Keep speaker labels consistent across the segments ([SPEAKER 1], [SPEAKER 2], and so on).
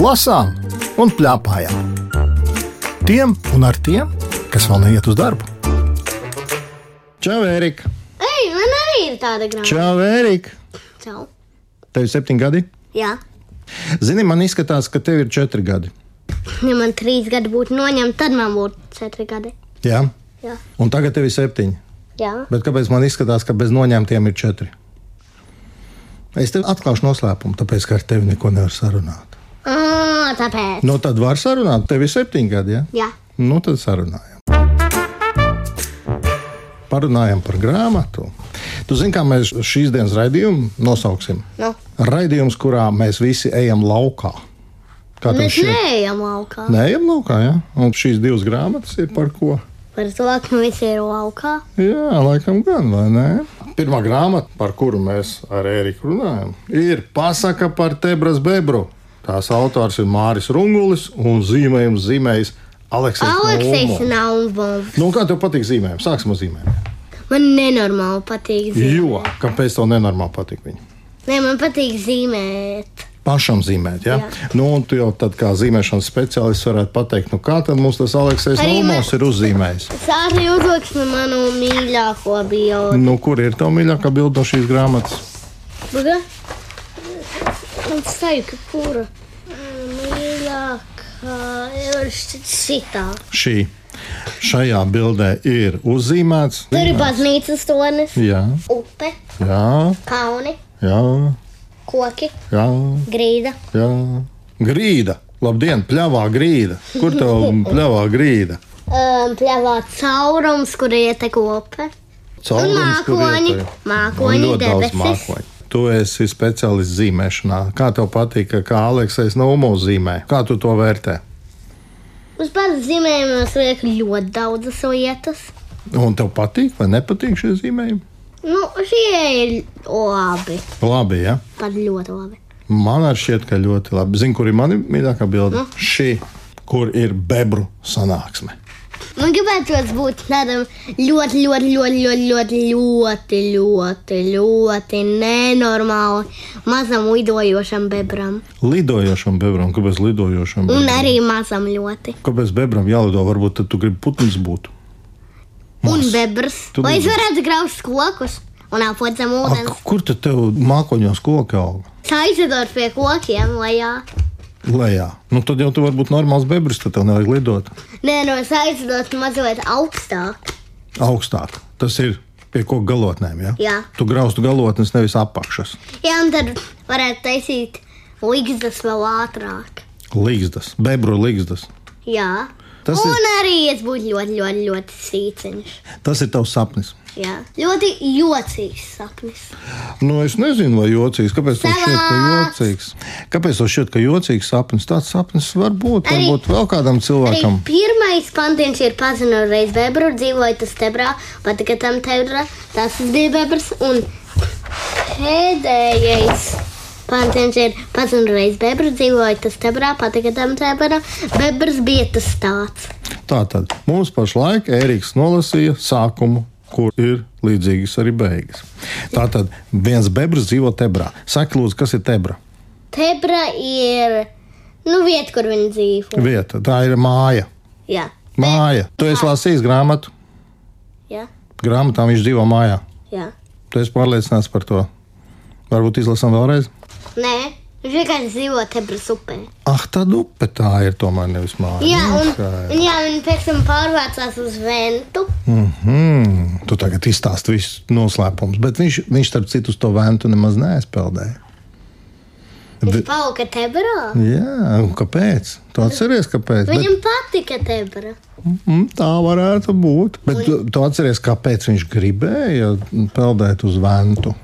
[SPEAKER 1] lasām un plakājām. Tiem un ar tiem, kas vēl neiet uz darbu.
[SPEAKER 2] Čau, Erika!
[SPEAKER 3] Ei, man arī ir tāda grāmata.
[SPEAKER 2] Čau, Erika!
[SPEAKER 3] Čau.
[SPEAKER 2] Tev ir septiņi gadi.
[SPEAKER 3] Jā,
[SPEAKER 2] Zini, man izskatās, ka tev ir četri gadi.
[SPEAKER 3] ja man trīs gadi būtu noņemti, tad man būtu četri gadi.
[SPEAKER 2] Jā,
[SPEAKER 3] Jā,
[SPEAKER 2] un tagad tev ir septiņi.
[SPEAKER 3] jā.
[SPEAKER 2] Bet kāpēc man izskatās, ka bez noņemtiem ir četri? Es tev atklāšu noslēpumu, tāpēc, ka ar tevi neko nevar sarunāt.
[SPEAKER 3] À, tāpēc.
[SPEAKER 2] Nu, tad var sarunāt, tev ir septiņi gadi. Ja?
[SPEAKER 3] Jā,
[SPEAKER 2] Nu, tad sarunājam. Parunājam par grāmatu. Tu zini, kā mēs šīs dienas raidījumu nosauksim?
[SPEAKER 3] nu.
[SPEAKER 2] Raidījums, kurā mēs visi ejam laukā. Kā tev
[SPEAKER 3] Mēs
[SPEAKER 2] šķiet?
[SPEAKER 3] neejam laukā.
[SPEAKER 2] Nē, ejam laukā, ja? Un šīs divas grāmatas ir par ko?
[SPEAKER 3] Par to, ka visi ir laukā.
[SPEAKER 2] Jā, laikam gan, vai ne? Pirmā grāmata, par kuru mēs ar Eriku runājam, ir Pasaka par Tebras bebru. Tās autors ir Māris Rungulis un zīmējums zīmējis Aleksis.
[SPEAKER 3] Aleksis
[SPEAKER 2] Naumov.
[SPEAKER 3] nav bombs.
[SPEAKER 2] Nu, kā tev patīk zīmējumi? Sāksim ar zīmējumiem.
[SPEAKER 3] Man nenormāli patīk zīmēt.
[SPEAKER 2] Jo, kāpēc tev nenormāli patīk viņi?
[SPEAKER 3] Nē, man patīk zīmēt.
[SPEAKER 2] Pašam zīmēt, ja?
[SPEAKER 3] Jā.
[SPEAKER 2] Nu, un tu jau tad kā zīmēšanas speciālists varētu pateikt, nu kā tad mums tas Aleksis
[SPEAKER 3] Arī
[SPEAKER 2] Naumovs ir uzzīmējis?
[SPEAKER 3] Es arī uzliku manu mīļāko bildi.
[SPEAKER 2] Nu, kur ir tā mīļākā bilde no šīs grāmatas?
[SPEAKER 3] Buga? Man sajūta, kura mīļākā ir šit- šitā.
[SPEAKER 2] šī. Šajā bildē ir uzzīmēts.
[SPEAKER 3] Tur ir baznīcas tonis,
[SPEAKER 2] Jā,
[SPEAKER 3] upe,
[SPEAKER 2] jā,
[SPEAKER 3] kalni,
[SPEAKER 2] jā,
[SPEAKER 3] koki,
[SPEAKER 2] jā,
[SPEAKER 3] grīda.
[SPEAKER 2] jā. Grīda. Labdien, pļāvā grīda. Kur tev pļāvā grīda?
[SPEAKER 3] Um, pļāvā caurums, kur ietek upe.
[SPEAKER 2] Caurums, kur
[SPEAKER 3] mākoņi,
[SPEAKER 2] iet, vai?
[SPEAKER 3] mākoņi,
[SPEAKER 2] Un ļoti daudz
[SPEAKER 3] debesis.
[SPEAKER 2] mākoņu. Tu esi speciālists zīmēšanā. Kā tev patīk, ka- kā Aleksis Naumo zīmē? Kā tu to vērtē?
[SPEAKER 3] Uz pats zīmējumos liek ļoti daudzas lietas.
[SPEAKER 2] Un tev patīk vai nepatīk šie zīmējumi?
[SPEAKER 3] Nu, šie ir labi,
[SPEAKER 2] Labi, jā. Ja?
[SPEAKER 3] pat ļoti labi.
[SPEAKER 2] Man arī šķiet, ka ļoti labi. Zini, kur ir mana mīļākā bilde? Mm. Šī, kur ir bebru sanāksme.
[SPEAKER 3] Man gribētos būt tādam ļoti, ļoti, ļoti, ļoti, ļoti, ļoti, ļoti, ļoti nenormālam, mazam lidojošam bebram.
[SPEAKER 2] Lidojošam bebram, kāpēc lidojošam?
[SPEAKER 3] Un
[SPEAKER 2] bebram?
[SPEAKER 3] arī mazam ļoti.
[SPEAKER 2] Kāpēc bebram jālido? Varbūt tad tu gribi putns būt.
[SPEAKER 3] Un bebrs.
[SPEAKER 2] Tu
[SPEAKER 3] Lai es
[SPEAKER 2] bebrs.
[SPEAKER 3] varētu graust kokus un apot zem
[SPEAKER 2] A,
[SPEAKER 3] ūdens.
[SPEAKER 2] kur tad tev mākoņos koki aug?
[SPEAKER 3] Saizadot pie kokiem, lejā.
[SPEAKER 2] Lejā. Nu, tad jau tu vari būt normāls bebris, tad tev nevajag lidot
[SPEAKER 3] Nē, no saizadot mazliet augstāk.
[SPEAKER 2] augstāk. Tas ir pie koku galotnēm. Ja?
[SPEAKER 3] Jā.
[SPEAKER 2] Tu graustu galotnes, nevis apakšas.
[SPEAKER 3] Jā, un tad varētu taisīt līgzdas vēl ātrāk.
[SPEAKER 2] Līgzdas, bebru līgzdas.
[SPEAKER 3] Jā.
[SPEAKER 2] Tas ir-
[SPEAKER 3] un arī es būtu ļoti, ļoti, ļoti sīciņš.
[SPEAKER 2] Tas ir tavs sapnis.
[SPEAKER 3] Jā, ļoti jocīgs sapnis.
[SPEAKER 2] Nu, es nezinu, vai jocīgs. Kāpēc tas šķiet, ka
[SPEAKER 3] Savāds.
[SPEAKER 2] jocīgs? Kāpēc tas šķiet, ka jocīgs sapnis? Tāds sapnis var būt.
[SPEAKER 3] Arī-
[SPEAKER 2] Varbūt vēl kādam
[SPEAKER 3] Arī
[SPEAKER 2] cilvēkam.
[SPEAKER 3] pirmais pantiens ir pazinu reiz bebru, dzīvoja tas tebrā, patika tam tebrā, tas bija bebrs, un pēdējais pantiens ir pazinu reiz bebru, dzīvoja tas tebrā, patika tam tebrā, bebrs bija tas tāds.
[SPEAKER 2] Tātad mums pašlaik Ēriks nolasīja sākumu, kur ir līdzīgas arī beigas. Tātad viens bebrs dzīvo tebrā. Saki, lūdzu, kas ir tebra?
[SPEAKER 3] Tebra ir, nu, vieta, kur viņi dzīvo.
[SPEAKER 2] Vieta. Tā ir māja.
[SPEAKER 3] Jā,
[SPEAKER 2] Māja. Tu esi lasījis grāmatu.
[SPEAKER 3] jā,
[SPEAKER 2] Grāmatā viņš dzīvo mājā.
[SPEAKER 3] jā.
[SPEAKER 2] Tu esi pārliecināts par to. Varbūt izlasām vēlreiz.
[SPEAKER 3] Nē, viņš vienkārši dzīvo tebras upē.
[SPEAKER 2] Ah, tad upe tā ir tomēr nevis māja.
[SPEAKER 3] Jā, un,
[SPEAKER 2] Skaidrs.
[SPEAKER 3] un jā, viņi pēc tam pārvācās uz Ventu.
[SPEAKER 2] Mm, tu tagad izstāsti visus noslēpumus, bet viņš, viņš starp citu, uz to vēntu nemaz neaizpeldēja.
[SPEAKER 3] Viņš
[SPEAKER 2] Vi-
[SPEAKER 3] palika tebrā.
[SPEAKER 2] Jā, un kāpēc? Tu atceries, kāpēc? Bet,
[SPEAKER 3] Viņam patika tebra.
[SPEAKER 2] mm, tā varētu būt. Bet tu, tu atceries, kāpēc viņš gribēja peldēt uz vēntu.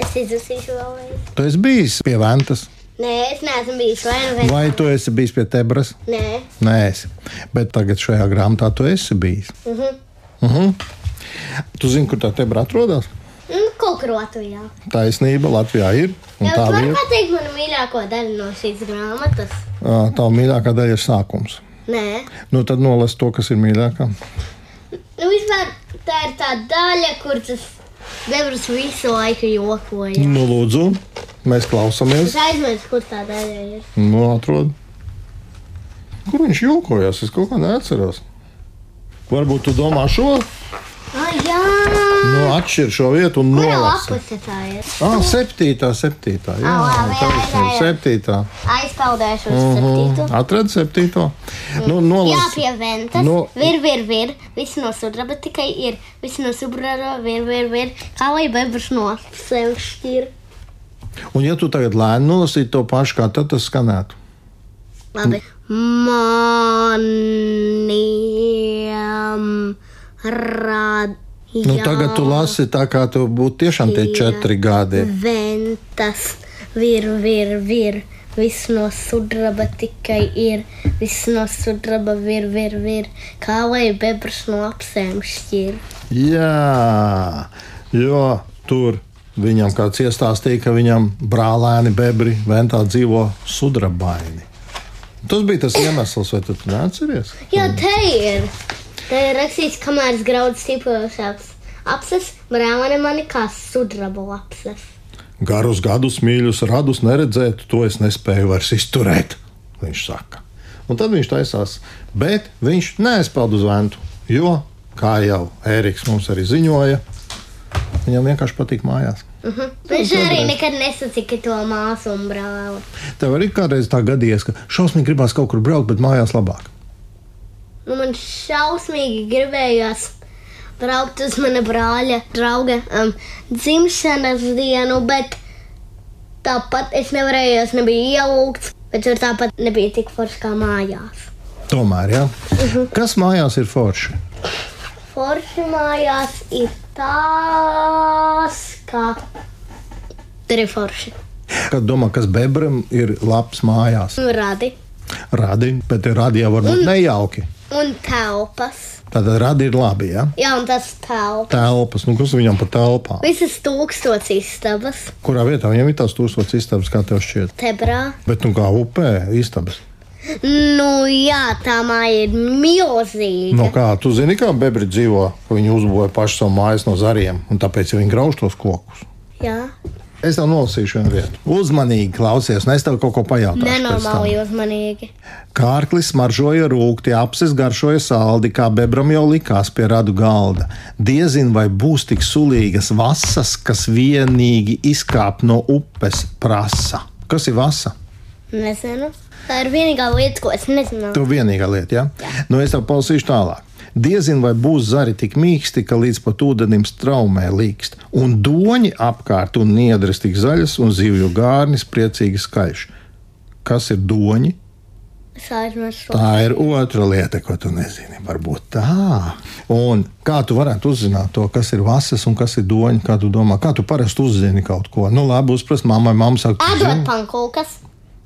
[SPEAKER 3] Es izlasīšu vēlreiz.
[SPEAKER 2] Tu esi bijis pie vēntas,
[SPEAKER 3] Nē, es neesmu bijis vai nu vai
[SPEAKER 2] vai tu esi bijis pie tebras?
[SPEAKER 3] nē.
[SPEAKER 2] Nē, esi. bet tagad šajā grāmatā tu esi bijis. Uh -huh.
[SPEAKER 3] Mhm.
[SPEAKER 2] Uh -huh. Tu zini, kur tā tebra atrodas?
[SPEAKER 3] Nu, kaut kur Latvijā.
[SPEAKER 2] Taisnība Latvijā ir. un
[SPEAKER 3] Jā,
[SPEAKER 2] tā
[SPEAKER 3] tu vari
[SPEAKER 2] vieta-
[SPEAKER 3] pateikt manu mīļāko daļu no šīs grāmatas?
[SPEAKER 2] Ā, Tā mīļākā daļa ir sākums.
[SPEAKER 3] Nē.
[SPEAKER 2] Nu, tad nolasīt to, kas ir mīļākā.
[SPEAKER 3] Nu, vispār tā
[SPEAKER 2] Mm.
[SPEAKER 3] ir tā daļa, kur tas bebrs visu laiku jokoja.
[SPEAKER 2] Nu, lūdzu, Mēs klausāmies.
[SPEAKER 3] Es aizmirsu, kur tā daļa ir.
[SPEAKER 2] Nu, atrod. Kur viņš jūkojas? Es kaut kā neatceros. Varbūt tu domā šo?
[SPEAKER 3] Ai, jā!
[SPEAKER 2] Nu, atšķir šo vietu un
[SPEAKER 3] Kurā
[SPEAKER 2] nolasi.
[SPEAKER 3] lapusē tā ir?
[SPEAKER 2] Ah, septītā, septītā. Jā,
[SPEAKER 3] Ah, labi, jā, jā, jā.
[SPEAKER 2] taisnība, septītā.
[SPEAKER 3] Aizpeldēšu uz
[SPEAKER 2] Mhm.
[SPEAKER 3] septīto.
[SPEAKER 2] Atrad septīto. Nu,
[SPEAKER 3] Jā,
[SPEAKER 2] nolas.
[SPEAKER 3] pie ventas.
[SPEAKER 2] No-
[SPEAKER 3] Vir, vir, vir. Viss no sudraba tikai ir. Viss no sudraba, vir, vir, vir. Kā lai bebrs no sev šķir.
[SPEAKER 2] Un ja tu tagad lēni nolasītu to pašu, kā tad tas skanētu.
[SPEAKER 3] Labi. Maniem rad.
[SPEAKER 2] Nu, tagad tu lasi tā, kā tu būtu tiešām tie četri gadi.
[SPEAKER 3] Ventas, vir, vir, vir. Viss no sudraba tikai ir. Viss no sudraba, vir, vir, vir. Kā lai bebrs no apsēm šķir.
[SPEAKER 2] Jā, jo tur viņam kāds iestāstīja, ka viņam brālēni bebri ventā dzīvo sudrabaini. Tas bija tas iemesls, vai tu to neatceries?
[SPEAKER 3] Jā, te ir. Te ir rakstīts, kamēr es graudu stipros apses, brālēni mani kā sudraba apses.
[SPEAKER 2] Garus gadus mīļus radus neredzēt, to es nespēju vairs izturēt. Viņš saka, un tad viņš taisās, bet viņš neaizpeld uz ventu, jo, kā jau Ēriks mums arī ziņoja, viņam vienkārši patīk mājās.
[SPEAKER 3] Viņš arī nekad nesacīja to māsu un brāli.
[SPEAKER 2] Tev arī kādreiz tā gadījies, ka šausmīgi gribās kaut kur braukt, bet mājās labāk.
[SPEAKER 3] Nu, man šausmīgi gribējās braukt uz mana brāļa, drauga um, dzimšanas dienu, bet tāpat es nevarēju, es nebiju ielūgts, bet tur tāpat nebija tik forši kā mājās.
[SPEAKER 2] Tomēr, ja? kas mājās ir forši?
[SPEAKER 3] Forši mājās ir tās, kā tur ir forši.
[SPEAKER 2] Kad domā, kas bebram ir labs mājās,
[SPEAKER 3] Un radi,
[SPEAKER 2] radi, bet radi jau var būt nejauki.
[SPEAKER 3] un telpas.
[SPEAKER 2] Tad radi ir labi, ja?
[SPEAKER 3] Jā, un tas telpas.
[SPEAKER 2] Telpas, nu kas viņam pa telpām?
[SPEAKER 3] Visas tūkstotis istabas,
[SPEAKER 2] Kurā vietā viņam ir tās tūkstošas istabas, kā tev šķiet?
[SPEAKER 3] tebrā.
[SPEAKER 2] Bet nu kā upē istabas.
[SPEAKER 3] Nu, jā, tā māja ir milzīga.
[SPEAKER 2] Nu kā, tu zini, kā bebri dzīvo, ka viņi uzbūvēja pašu savu mājas no zariem, un tāpēc viņi grauž tos kokus.
[SPEAKER 3] Jā,
[SPEAKER 2] Es tev nolasīšu vienu vietu. Uzmanīgi klausies, un es tev kaut ko pajautāšu. pēc tam.
[SPEAKER 3] nenormāli uzmanīgi.
[SPEAKER 2] Kārklis maržoja rūkti, apses garšoja saldi, kā bebram jau likās pie radu galda. Diezin vai būs tik sulīgas vasas, kas vienīgi izkāp no upes prasa. Kas ir vasa?
[SPEAKER 3] Nezinu. Tā ir vienīgā lieta, ko es nezinu.
[SPEAKER 2] Tu vienīgā lieta, ja? Jā. Nu, es tev palasīšu tālāk. Diezin vai būs zari tik mīksti, ka līdz pat ūdenim straumē līkst, un doņi apkārt un niedras tik zaļas, un zivju gārnis priecīgi skaļš. Kas ir doņi?
[SPEAKER 3] Es aizmirsu. to.
[SPEAKER 2] Tā ir otra lieta, ko tu nezini. Varbūt tā. Un kā tu varētu uzzināt to, kas ir vasas un kas ir doņa? Kā tu domā, kā tu parasti uzzini kaut ko? Nu, labi, uzprast mammai, mamma saka, tu
[SPEAKER 3] Atdod
[SPEAKER 2] zini.
[SPEAKER 3] pankūkas.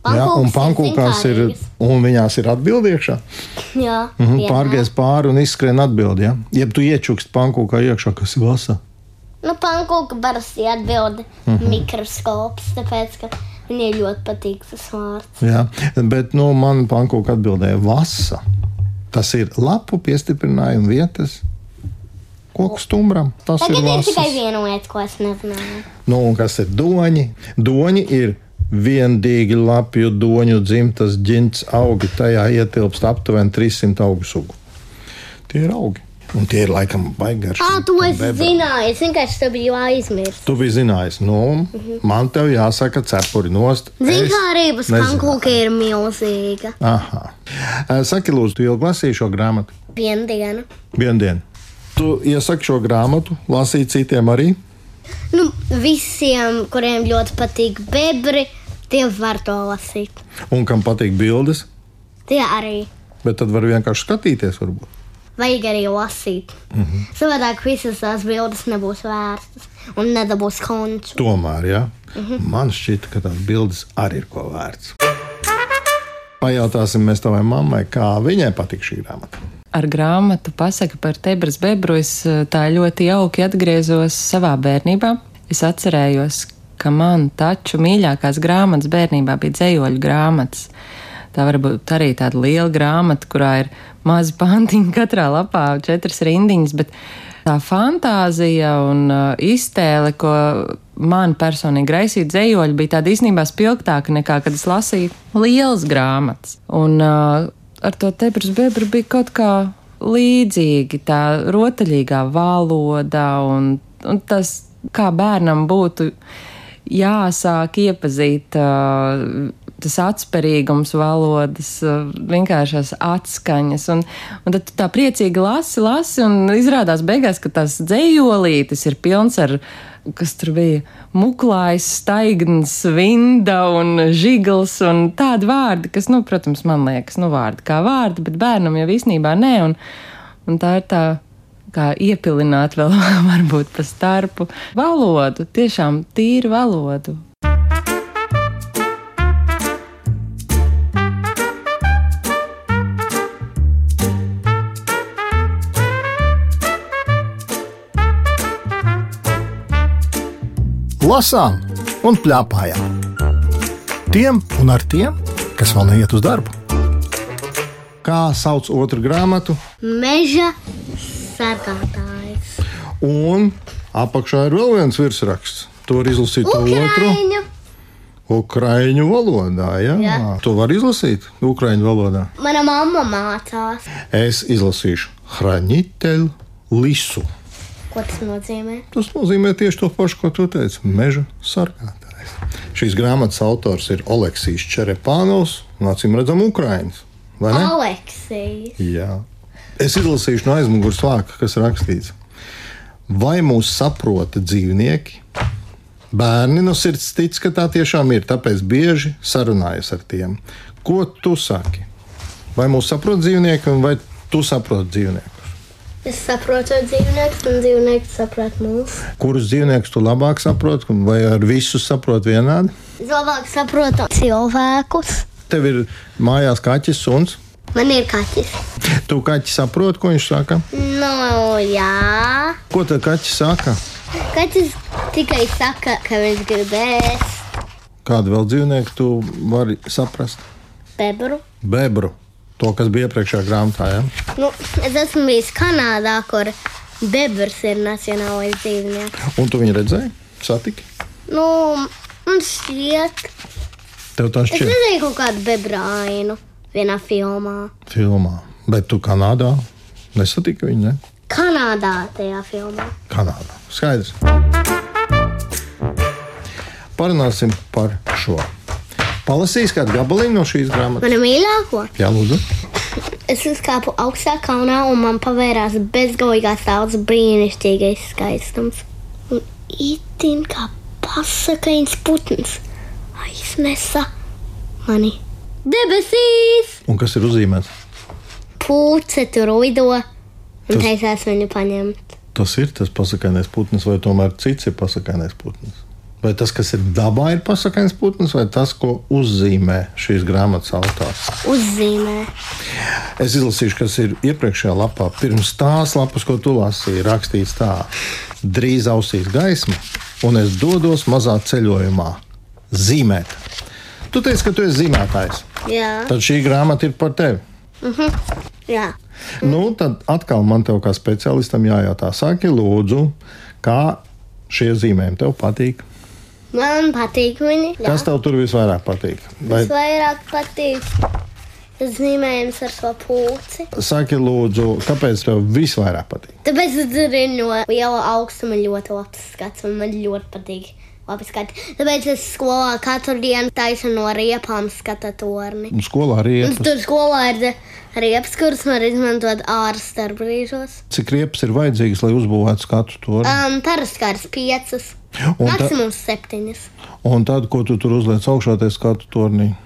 [SPEAKER 2] Jā, un pankūkās
[SPEAKER 3] pankūkas
[SPEAKER 2] ir, un viņās ir atbildīgā.
[SPEAKER 3] zinkārīgas. Jā,
[SPEAKER 2] Mhm,
[SPEAKER 3] jā.
[SPEAKER 2] Pārgājis pāri un izskrien atbildi. Ja? Jeb tu iečukst pankūkā iekšā, kas ir vasa.
[SPEAKER 3] Nu, pankūka parasti atbild
[SPEAKER 2] Mhm.
[SPEAKER 3] mikroskops, tāpēc, ka viņai ļoti patīk tas vārds.
[SPEAKER 2] Ja? Bet nu, man pankūka atbildēja vasa. Tas ir lapu piestiprinājuma vietas. Koks stumbram tas
[SPEAKER 3] Tagad
[SPEAKER 2] ir
[SPEAKER 3] ir
[SPEAKER 2] vasas.
[SPEAKER 3] tikai viena lieta, ko es nezināju.
[SPEAKER 2] Nu, un kas ir doņi? Doņi ir viendīgi lapju doņu dzimtas ģints augi. Tajā ietilpst aptuveni 300 augu sugu. Tie ir augi. Un tie ir laikam baigāri.
[SPEAKER 3] Ā, to es zināju, es vienkārši to biju aizmirsis.
[SPEAKER 2] Tu biji zinājis, nu, man te jāsaka, cepuri nost. Es
[SPEAKER 3] Zinkārības
[SPEAKER 2] nezinu.
[SPEAKER 3] pankūka ir milzīga.
[SPEAKER 2] Aha. Eh, Saki, lūdzu, tu ilgi lasīji šo grāmatu?
[SPEAKER 3] Vienu dienu.
[SPEAKER 2] Vienu dienu. Tu iesaki šo grāmatu, lasīji citiem arī.
[SPEAKER 3] Nu, visiem, kuriem ļoti patīk bebri, tie var to lasīt.
[SPEAKER 2] Un kam patīk bildes,
[SPEAKER 3] Tie arī
[SPEAKER 2] bet tad var vienkārši skatīties, varbūt.
[SPEAKER 3] vajag arī lasīt. Mm -hmm.
[SPEAKER 2] Mhm.
[SPEAKER 3] Savādāk visas tās bildes nebūs vērtas un nedabūs konču.
[SPEAKER 2] Tomēr ja? man šķiet, ka tās bildes arī ir ko vērts. Pajautāsim mēs tavai mammai, kā viņai patīk šī grāmata.
[SPEAKER 4] Ar grāmatu pasaka par Tebras bebru es eh, tā ļoti jauki atgriezos savā bērnībā. Es atcerējos, ka man taču mīļākās grāmatas bērnībā bija dzējoļu grāmatas. Tā var būt arī tāda liela grāmata, kurā ir mazi pantiņi katrā lapā, četras rindiņas, bet tā fantāzija un eh, iztēle, ko man personīgi raisīt dzējoļi bija tāda īstenībā spilgtāka nekā, kad es lasīju lielas grāmatas. Un uh, ar to tebras bebru bija kaut kā līdzīgi tā rotaļīgā valoda un, un tas, kā bērnam būtu jāsāk iepazīt uh, tas atspērīgums, valodas, uh, vienkāršās atskaņas. Un, un tad tu tā priecīgi lasi, lasi, un izrādās beigās, ka tas dzējolītis ir pilns ar, kas tur bija, muklājs, staigns, vinda un žigls un tādi vārdi, kas, nu, protams, man liekas, nu, vārdi kā vārdi, bet bērnam jau īstenībā nē, un, un tā ir tā kā iepilināt vēl varbūt pa starpu valodu, tiešām tīru valodu.
[SPEAKER 1] Lasām un plēpājām. Tiem un ar tiem, kas vēl neiet uz darbu.
[SPEAKER 2] Kā sauc otru grāmatu,
[SPEAKER 3] Meža sargātājs.
[SPEAKER 2] un apakšā ir vēl viens virsraksts. Tur ir izlasīta otru
[SPEAKER 3] Ukraiņu.
[SPEAKER 2] ukraiņu valodā. Ja? Jā.
[SPEAKER 3] Jā.
[SPEAKER 2] To var izlasīt ukraiņu valodā.
[SPEAKER 3] Mana mamma mācās,
[SPEAKER 2] Es izlasīšu Hraņiteļu lisu.
[SPEAKER 3] ko tas nozīmē.
[SPEAKER 2] Tas nozīmē tieši to pašu, ko tu teici - meža sargātājs. Šīs grāmatas autors ir Oleksijas Čerepānovs, un acīm redzam, Ukrāņš. Vai ne?
[SPEAKER 3] Aleksija.
[SPEAKER 2] Jā. Es izlasīšu no aizmugures vāka, kas rakstīts. Vai mūs saprota dzīvnieki? Bērni no sirds tic, ka tā tiešām ir, tāpēc bieži sarunājas ar tiem. Ko tu saki? Vai mūs saprot dzīvnieki, un vai tu saproti dzīvniekus?
[SPEAKER 3] Es saprotu dzīvniekus, un dzīvnieki saprot mūs.
[SPEAKER 2] Kurus dzīvniekus tu labāk saproti, un vai ar visu saproti vienādi?
[SPEAKER 3] Es labāk saprotu cilvēkus.
[SPEAKER 2] Tev ir mājās kaķis, suns.
[SPEAKER 3] Man ir kaķis.
[SPEAKER 2] Tu kaķi saproti, ko viņš saka?
[SPEAKER 3] No, jā.
[SPEAKER 2] Ko tad kaķis saka?
[SPEAKER 3] Kaķis tikai saka, ka viņš gribēs
[SPEAKER 2] Kādu vēl dzīvnieku tu vari saprast?
[SPEAKER 3] bebru.
[SPEAKER 2] bebru, to, kas bija iepriekšējā grāmatā. Ja?
[SPEAKER 3] Nu, es esmu bijis Kanādā, kur bebrs ir nacionālais dzīvnieks.
[SPEAKER 2] Un tu viņu redzēji, satiki.
[SPEAKER 3] Nu, man šķiet,
[SPEAKER 2] Tev tas
[SPEAKER 3] es
[SPEAKER 2] šķiet
[SPEAKER 3] redzēju kaut kādu bebra ainu vienā filmā.
[SPEAKER 2] filmā, bet tu Kanādā nesatiki viņu. Ne?
[SPEAKER 3] Kanādā tajā filmā.
[SPEAKER 2] Kanādā. Skaidrs. Parunāsim par šo. Palasīs kādu gabaliņu no šīs grāmatas.
[SPEAKER 3] Mana mīļākā.
[SPEAKER 2] Jā, lūdzu.
[SPEAKER 3] Es uzkāpu augstā kalnā un man pavērās bezgalīgās tāds brīnišķīgais skaistums. Un itin kā pasakains putns aiznesa mani debesīs.
[SPEAKER 2] Un kas ir uzzīmēts?
[SPEAKER 3] Pūce tur lido un
[SPEAKER 2] Tas-
[SPEAKER 3] taisās viņu paņemt.
[SPEAKER 2] Tas ir tas pasakānais putns, vai tomēr cits ir pasakānais putns? Vai tas, kas ir dabā, ir pasakāns putns, vai tas, ko uzzīmē šīs grāmatas autors?
[SPEAKER 3] Uzzīmē.
[SPEAKER 2] Es izlasīšu, kas ir iepriekšējā lapā. Pirms tās lapas, ko tu lasīji, rakstīts tā: drīz ausīs gaisma, un es dodos mazā ceļojumā zīmēt. Tu teici, ka tu esi zīmētājs.
[SPEAKER 3] Jā,
[SPEAKER 2] Tad šī grāmata ir par tevi.
[SPEAKER 3] jā.
[SPEAKER 2] Nu, tad atkal man te kā speciālistam jājautā, saki, lūdzu, kā šie zīmējumi tev patīk?
[SPEAKER 3] man patīk viņi.
[SPEAKER 2] Jā. Kas tev tur visvairāk patīk? Vai
[SPEAKER 3] Man vairāk patīk zīmējums ar šo pūci.
[SPEAKER 2] saki, lūdzu, kāpēc tev visvairāk patīk?
[SPEAKER 3] Tāpēc tur ir no liela augstuma ļoti labs skats, un man ļoti patīk. labi skati. Tāpēc es skolā katru dienu taisu no riepām skatu torni.
[SPEAKER 2] Un Skolā arī
[SPEAKER 3] Un
[SPEAKER 2] ir.
[SPEAKER 3] Tur skolā ir de- riepas, kuras var izmantot ārsta brīžos.
[SPEAKER 2] Cik riepas ir vajadzīgas, lai uzbūvētu skatu to?
[SPEAKER 3] Um, Parasti kādas piecas,
[SPEAKER 2] Un tā-
[SPEAKER 3] maksimums septiņas.
[SPEAKER 2] Un tad, ko tu tur uzliec augšā, tas skatu turnī.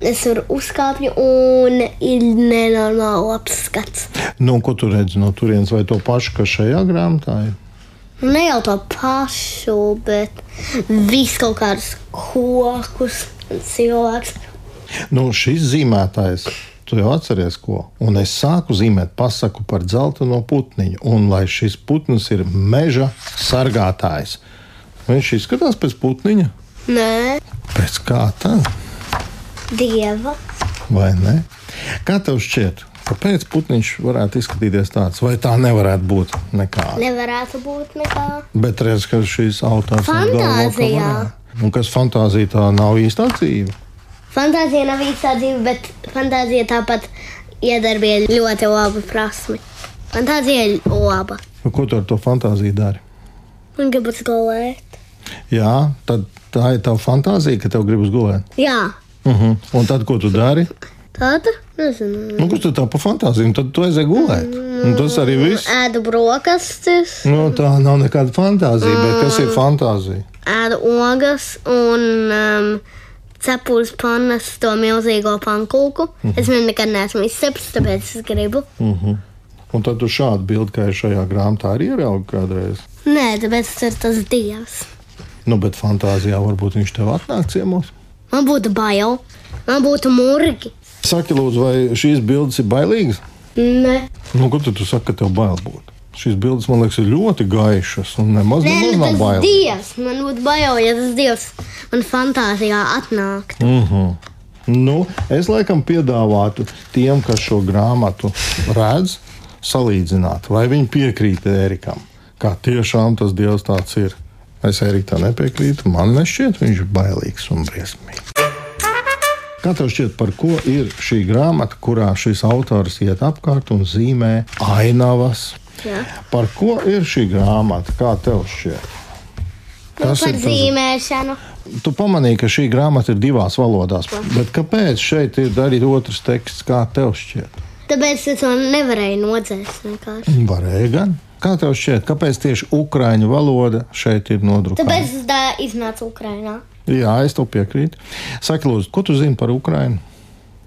[SPEAKER 3] Es tur uzkāpu un ir nenormāli labs skats.
[SPEAKER 2] Nu, un ko tu redzi no turienes, vai to pašu, kas šajā grāmatā ir?
[SPEAKER 3] Nu, Ne jau to pašu, bet visu kaut kādus kokus un cilvēkus.
[SPEAKER 2] Nu, šis zīmētājs, tu jau atceries, ko. Un es sāku zīmēt pasaku par zelta no putniņa, un lai šis putns ir meža sargātājs. Viņš izskatās pēc putniņa,
[SPEAKER 3] Nē,
[SPEAKER 2] pēc kā tā,
[SPEAKER 3] dieva.
[SPEAKER 2] vai ne? Kā tev šķiet, Kāpēc putniņš varētu izskatīties tāds? Vai tā nevarētu būt nekāda?
[SPEAKER 3] Nevarētu būt nekā.
[SPEAKER 2] Bet redz, ka šīs autārs ir galvā, ka
[SPEAKER 3] Fantāzijā.
[SPEAKER 2] varētu. Un kas fantāzijā tā nav īstā dzīve?
[SPEAKER 3] Fantāzija nav īsta dzīve, bet fantāzija tāpat iedarbīja ļoti labu prasmi. Fantāzija ir laba.
[SPEAKER 2] Nu, Ko tu ar to fantāziju dari?
[SPEAKER 3] Un gribas gulēt.
[SPEAKER 2] Jā, tad tā ir tava fantāzija, ka tev gribas gulēt.
[SPEAKER 3] Jā,
[SPEAKER 2] Uh -huh. Un tad, ko tu dari?
[SPEAKER 3] tāda nezinu.
[SPEAKER 2] Nu, kas tu tā pa fantāziju? Tad tu aizēji gulēt. Un tas arī viss.
[SPEAKER 3] Ēdu brokastis,
[SPEAKER 2] Nu, tā nav nekāda fantāzija, bet kas ir fantāzija?
[SPEAKER 3] ēdu ogas un um, cepu uz pannas to milzīgo pankūku.
[SPEAKER 2] Mhm.
[SPEAKER 3] Es viņu nekad neesmu izcepts, tāpēc es gribu.
[SPEAKER 2] Un tad tu šādu bildi, kā ir šajā grāmatā, arī ieraugi kādreiz.
[SPEAKER 3] Nē, tāpēc tas ir tas dievs.
[SPEAKER 2] Nu, bet fantāzijā varbūt viņš tev atnāk ciemos.
[SPEAKER 3] Man būtu bail, man būtu murgi.
[SPEAKER 2] Saki, lūdzu, vai šīs bildes ir bailīgas?
[SPEAKER 3] Nē,
[SPEAKER 2] Nu, kur tad tu saki, ka tev bail būt? Šīs bildes, man liekas, ir ļoti gaišas un nemaz,
[SPEAKER 3] Nē,
[SPEAKER 2] nemaz
[SPEAKER 3] nu
[SPEAKER 2] nav
[SPEAKER 3] tas
[SPEAKER 2] bail.
[SPEAKER 3] dievs, man būtu bail, ja tas dievs man fantāzijā atnāktu.
[SPEAKER 2] Uh -huh. nu, es laikam piedāvātu tiem, kas šo grāmatu redz, salīdzināt, vai viņi piekrīt Erikam. Kā tiešām tas dievs tāds ir. Es Erikam nepiekrītu. Man nešķiet, viņš ir bailīgs un briesmīgs. Kā tev šķiet, par ko ir šī grāmata, kurā šis autors iet apkārt un zīmē ainavas?
[SPEAKER 3] Jā.
[SPEAKER 2] Par ko ir šī grāmata? Kā tev šķiet?
[SPEAKER 3] Nu, par
[SPEAKER 2] tas-
[SPEAKER 3] zīmēšanu.
[SPEAKER 2] Tu pamanīji, ka šī grāmata ir divās valodās. Bet kāpēc šeit ir arī otrs teksts, kā tev šķiet?
[SPEAKER 3] Tāpēc es to nevarēju nodzēst vienkārši.
[SPEAKER 2] Varēja gan. Kā tev šķiet, kāpēc tieši ukrāņu valoda šeit ir nodrukāta?
[SPEAKER 3] Tāpēc es tā iznācu Ukrajinā.
[SPEAKER 2] Jā, es tev piekrītu. Saki, lūdzu, ko tu zini par Ukrajinu?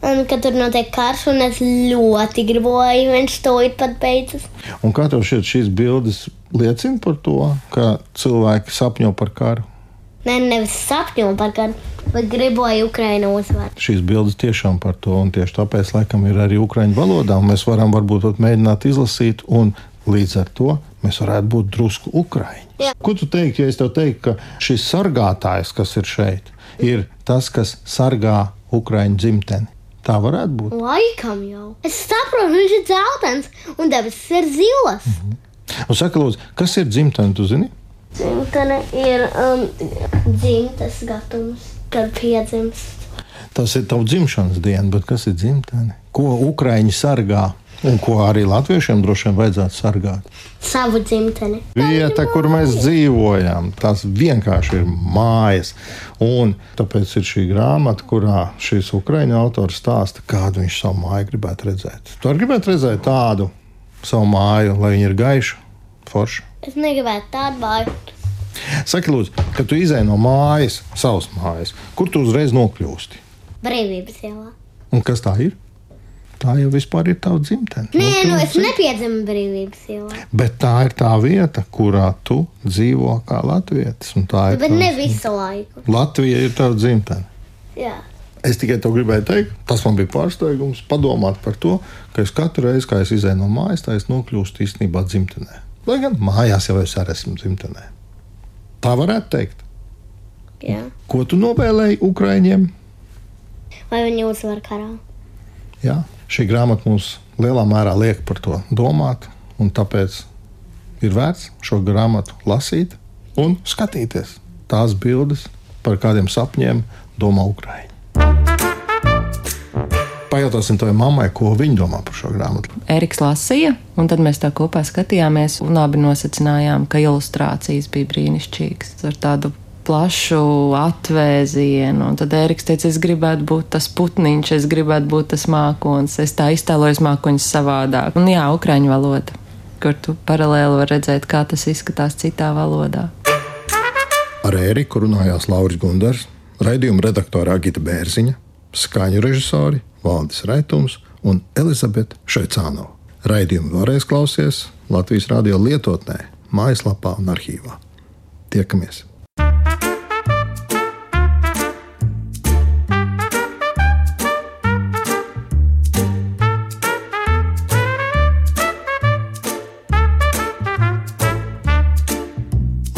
[SPEAKER 3] nu, Kad tur notiek karš, un es ļoti gribēju, viņš to ir pat beidzis.
[SPEAKER 2] Un kā tev šķiet, šīs bildes liecina par to, ka cilvēki sapņo par karu?
[SPEAKER 3] Nē, nevis sapņo par kādu, bet gribēju Ukrajinu uzvaru.
[SPEAKER 2] Šīs bildes tiešām par to, un tieši tāpēc, laikam, ir arī ukrāņu valodā. un Mēs varam varbūt pat mēģināt izlasīt, un līdz ar to mēs varētu būt drusku ukrāņi.
[SPEAKER 3] Jā.
[SPEAKER 2] Ko tu teiktu, ja es tev teiktu, ka šis sargātājs, kas ir šeit, ir tas, kas sargā ukrāņu dzimteni? Tā varētu būt.
[SPEAKER 3] Laikam jau. Es saprotu, viņš ir dzeltens un debesis ir zilas.
[SPEAKER 2] Un saka, lūdzu, kas ir dzimtene? Tu zini?
[SPEAKER 3] Dzimtene ir um, dzimtas gadījums, kad piedzimst.
[SPEAKER 2] Tas ir tavs dzimšanas diena, bet kas ir dzimtene? Ko ukrāņi sargā? Un ko arī latviešiem droši vien vajadzētu sargāt?
[SPEAKER 3] Savu dzimteni.
[SPEAKER 2] vieta, kur mēs dzīvojam. Tas vienkārši ir mājas. Un tāpēc ir šī grāmata, kurā šis ukrāņu autors stāsta, kādu viņš savu māju gribētu redzēt. Tu arī gribētu redzēt tādu savu māju, lai viņa ir gaiša, forša.
[SPEAKER 3] Es negribētu tādu vāju.
[SPEAKER 2] Saki, lūdzu, kad tu izēj no mājas, savas mājas, kur tu uzreiz nokļūsti?
[SPEAKER 3] Brīvības ielā.
[SPEAKER 2] Un kas tā ir? Tā jau vispār ir tava dzimtene.
[SPEAKER 3] Nē, nu
[SPEAKER 2] Nokļūsti
[SPEAKER 3] es nepiedzimu brīvības ielā.
[SPEAKER 2] Bet tā ir tā vieta, kurā tu dzīvo kā latvietis. un tā ir
[SPEAKER 3] Bet
[SPEAKER 2] tava-
[SPEAKER 3] ne visu laiku.
[SPEAKER 2] Latvija ir tava dzimtene.
[SPEAKER 3] Jā.
[SPEAKER 2] Es tikai to gribēju teikt, tas man bija pārsteigums. Padomāt par to, ka es katru reizi, kad es izēju no mājas, tā es nokļūstu īstenībā dzimtenē. Lai gan mājās jau es arī esmu dzimtenē. Tā varētu teikt.
[SPEAKER 3] Jā.
[SPEAKER 2] Ko tu novēlēji Ukraiņiem?
[SPEAKER 3] Vai viņi uzvar karā?
[SPEAKER 2] Jā, šī grāmata mums lielā mērā liek par to domāt, un tāpēc ir vērts šo grāmatu lasīt un skatīties tās bildes, par kādiem sapņiem domā Ukraiņa. Pajautāsim tavai mammai, ko viņa domā par šo grāmatu.
[SPEAKER 4] Eriks lasīja, un tad mēs tā kopā skatījāmies un labi nosacinājām, ka ilustrācijas bija brīnišķīgas ar tādu plašu atvēzienu. Un tad Eriks teica, es gribētu būt tas putniņš, es gribētu būt tas mākons, es tā iztēlojos mākoņus savādāk. Un jā, ukraiņu valoda, kur tu paralēli var redzēt, kā tas izskatās citā valodā.
[SPEAKER 1] Ar Eriku runājās Lauris Gundars, raidījuma redaktora Agita Bērziņa, skaņu režisori Valdis Raitums un Elizabete Šaicāno. Raidījumu varēs klausīties Latvijas radio lietotnē, mājaslapā un arhīvā. Tiekamies!
[SPEAKER 2] Lasām!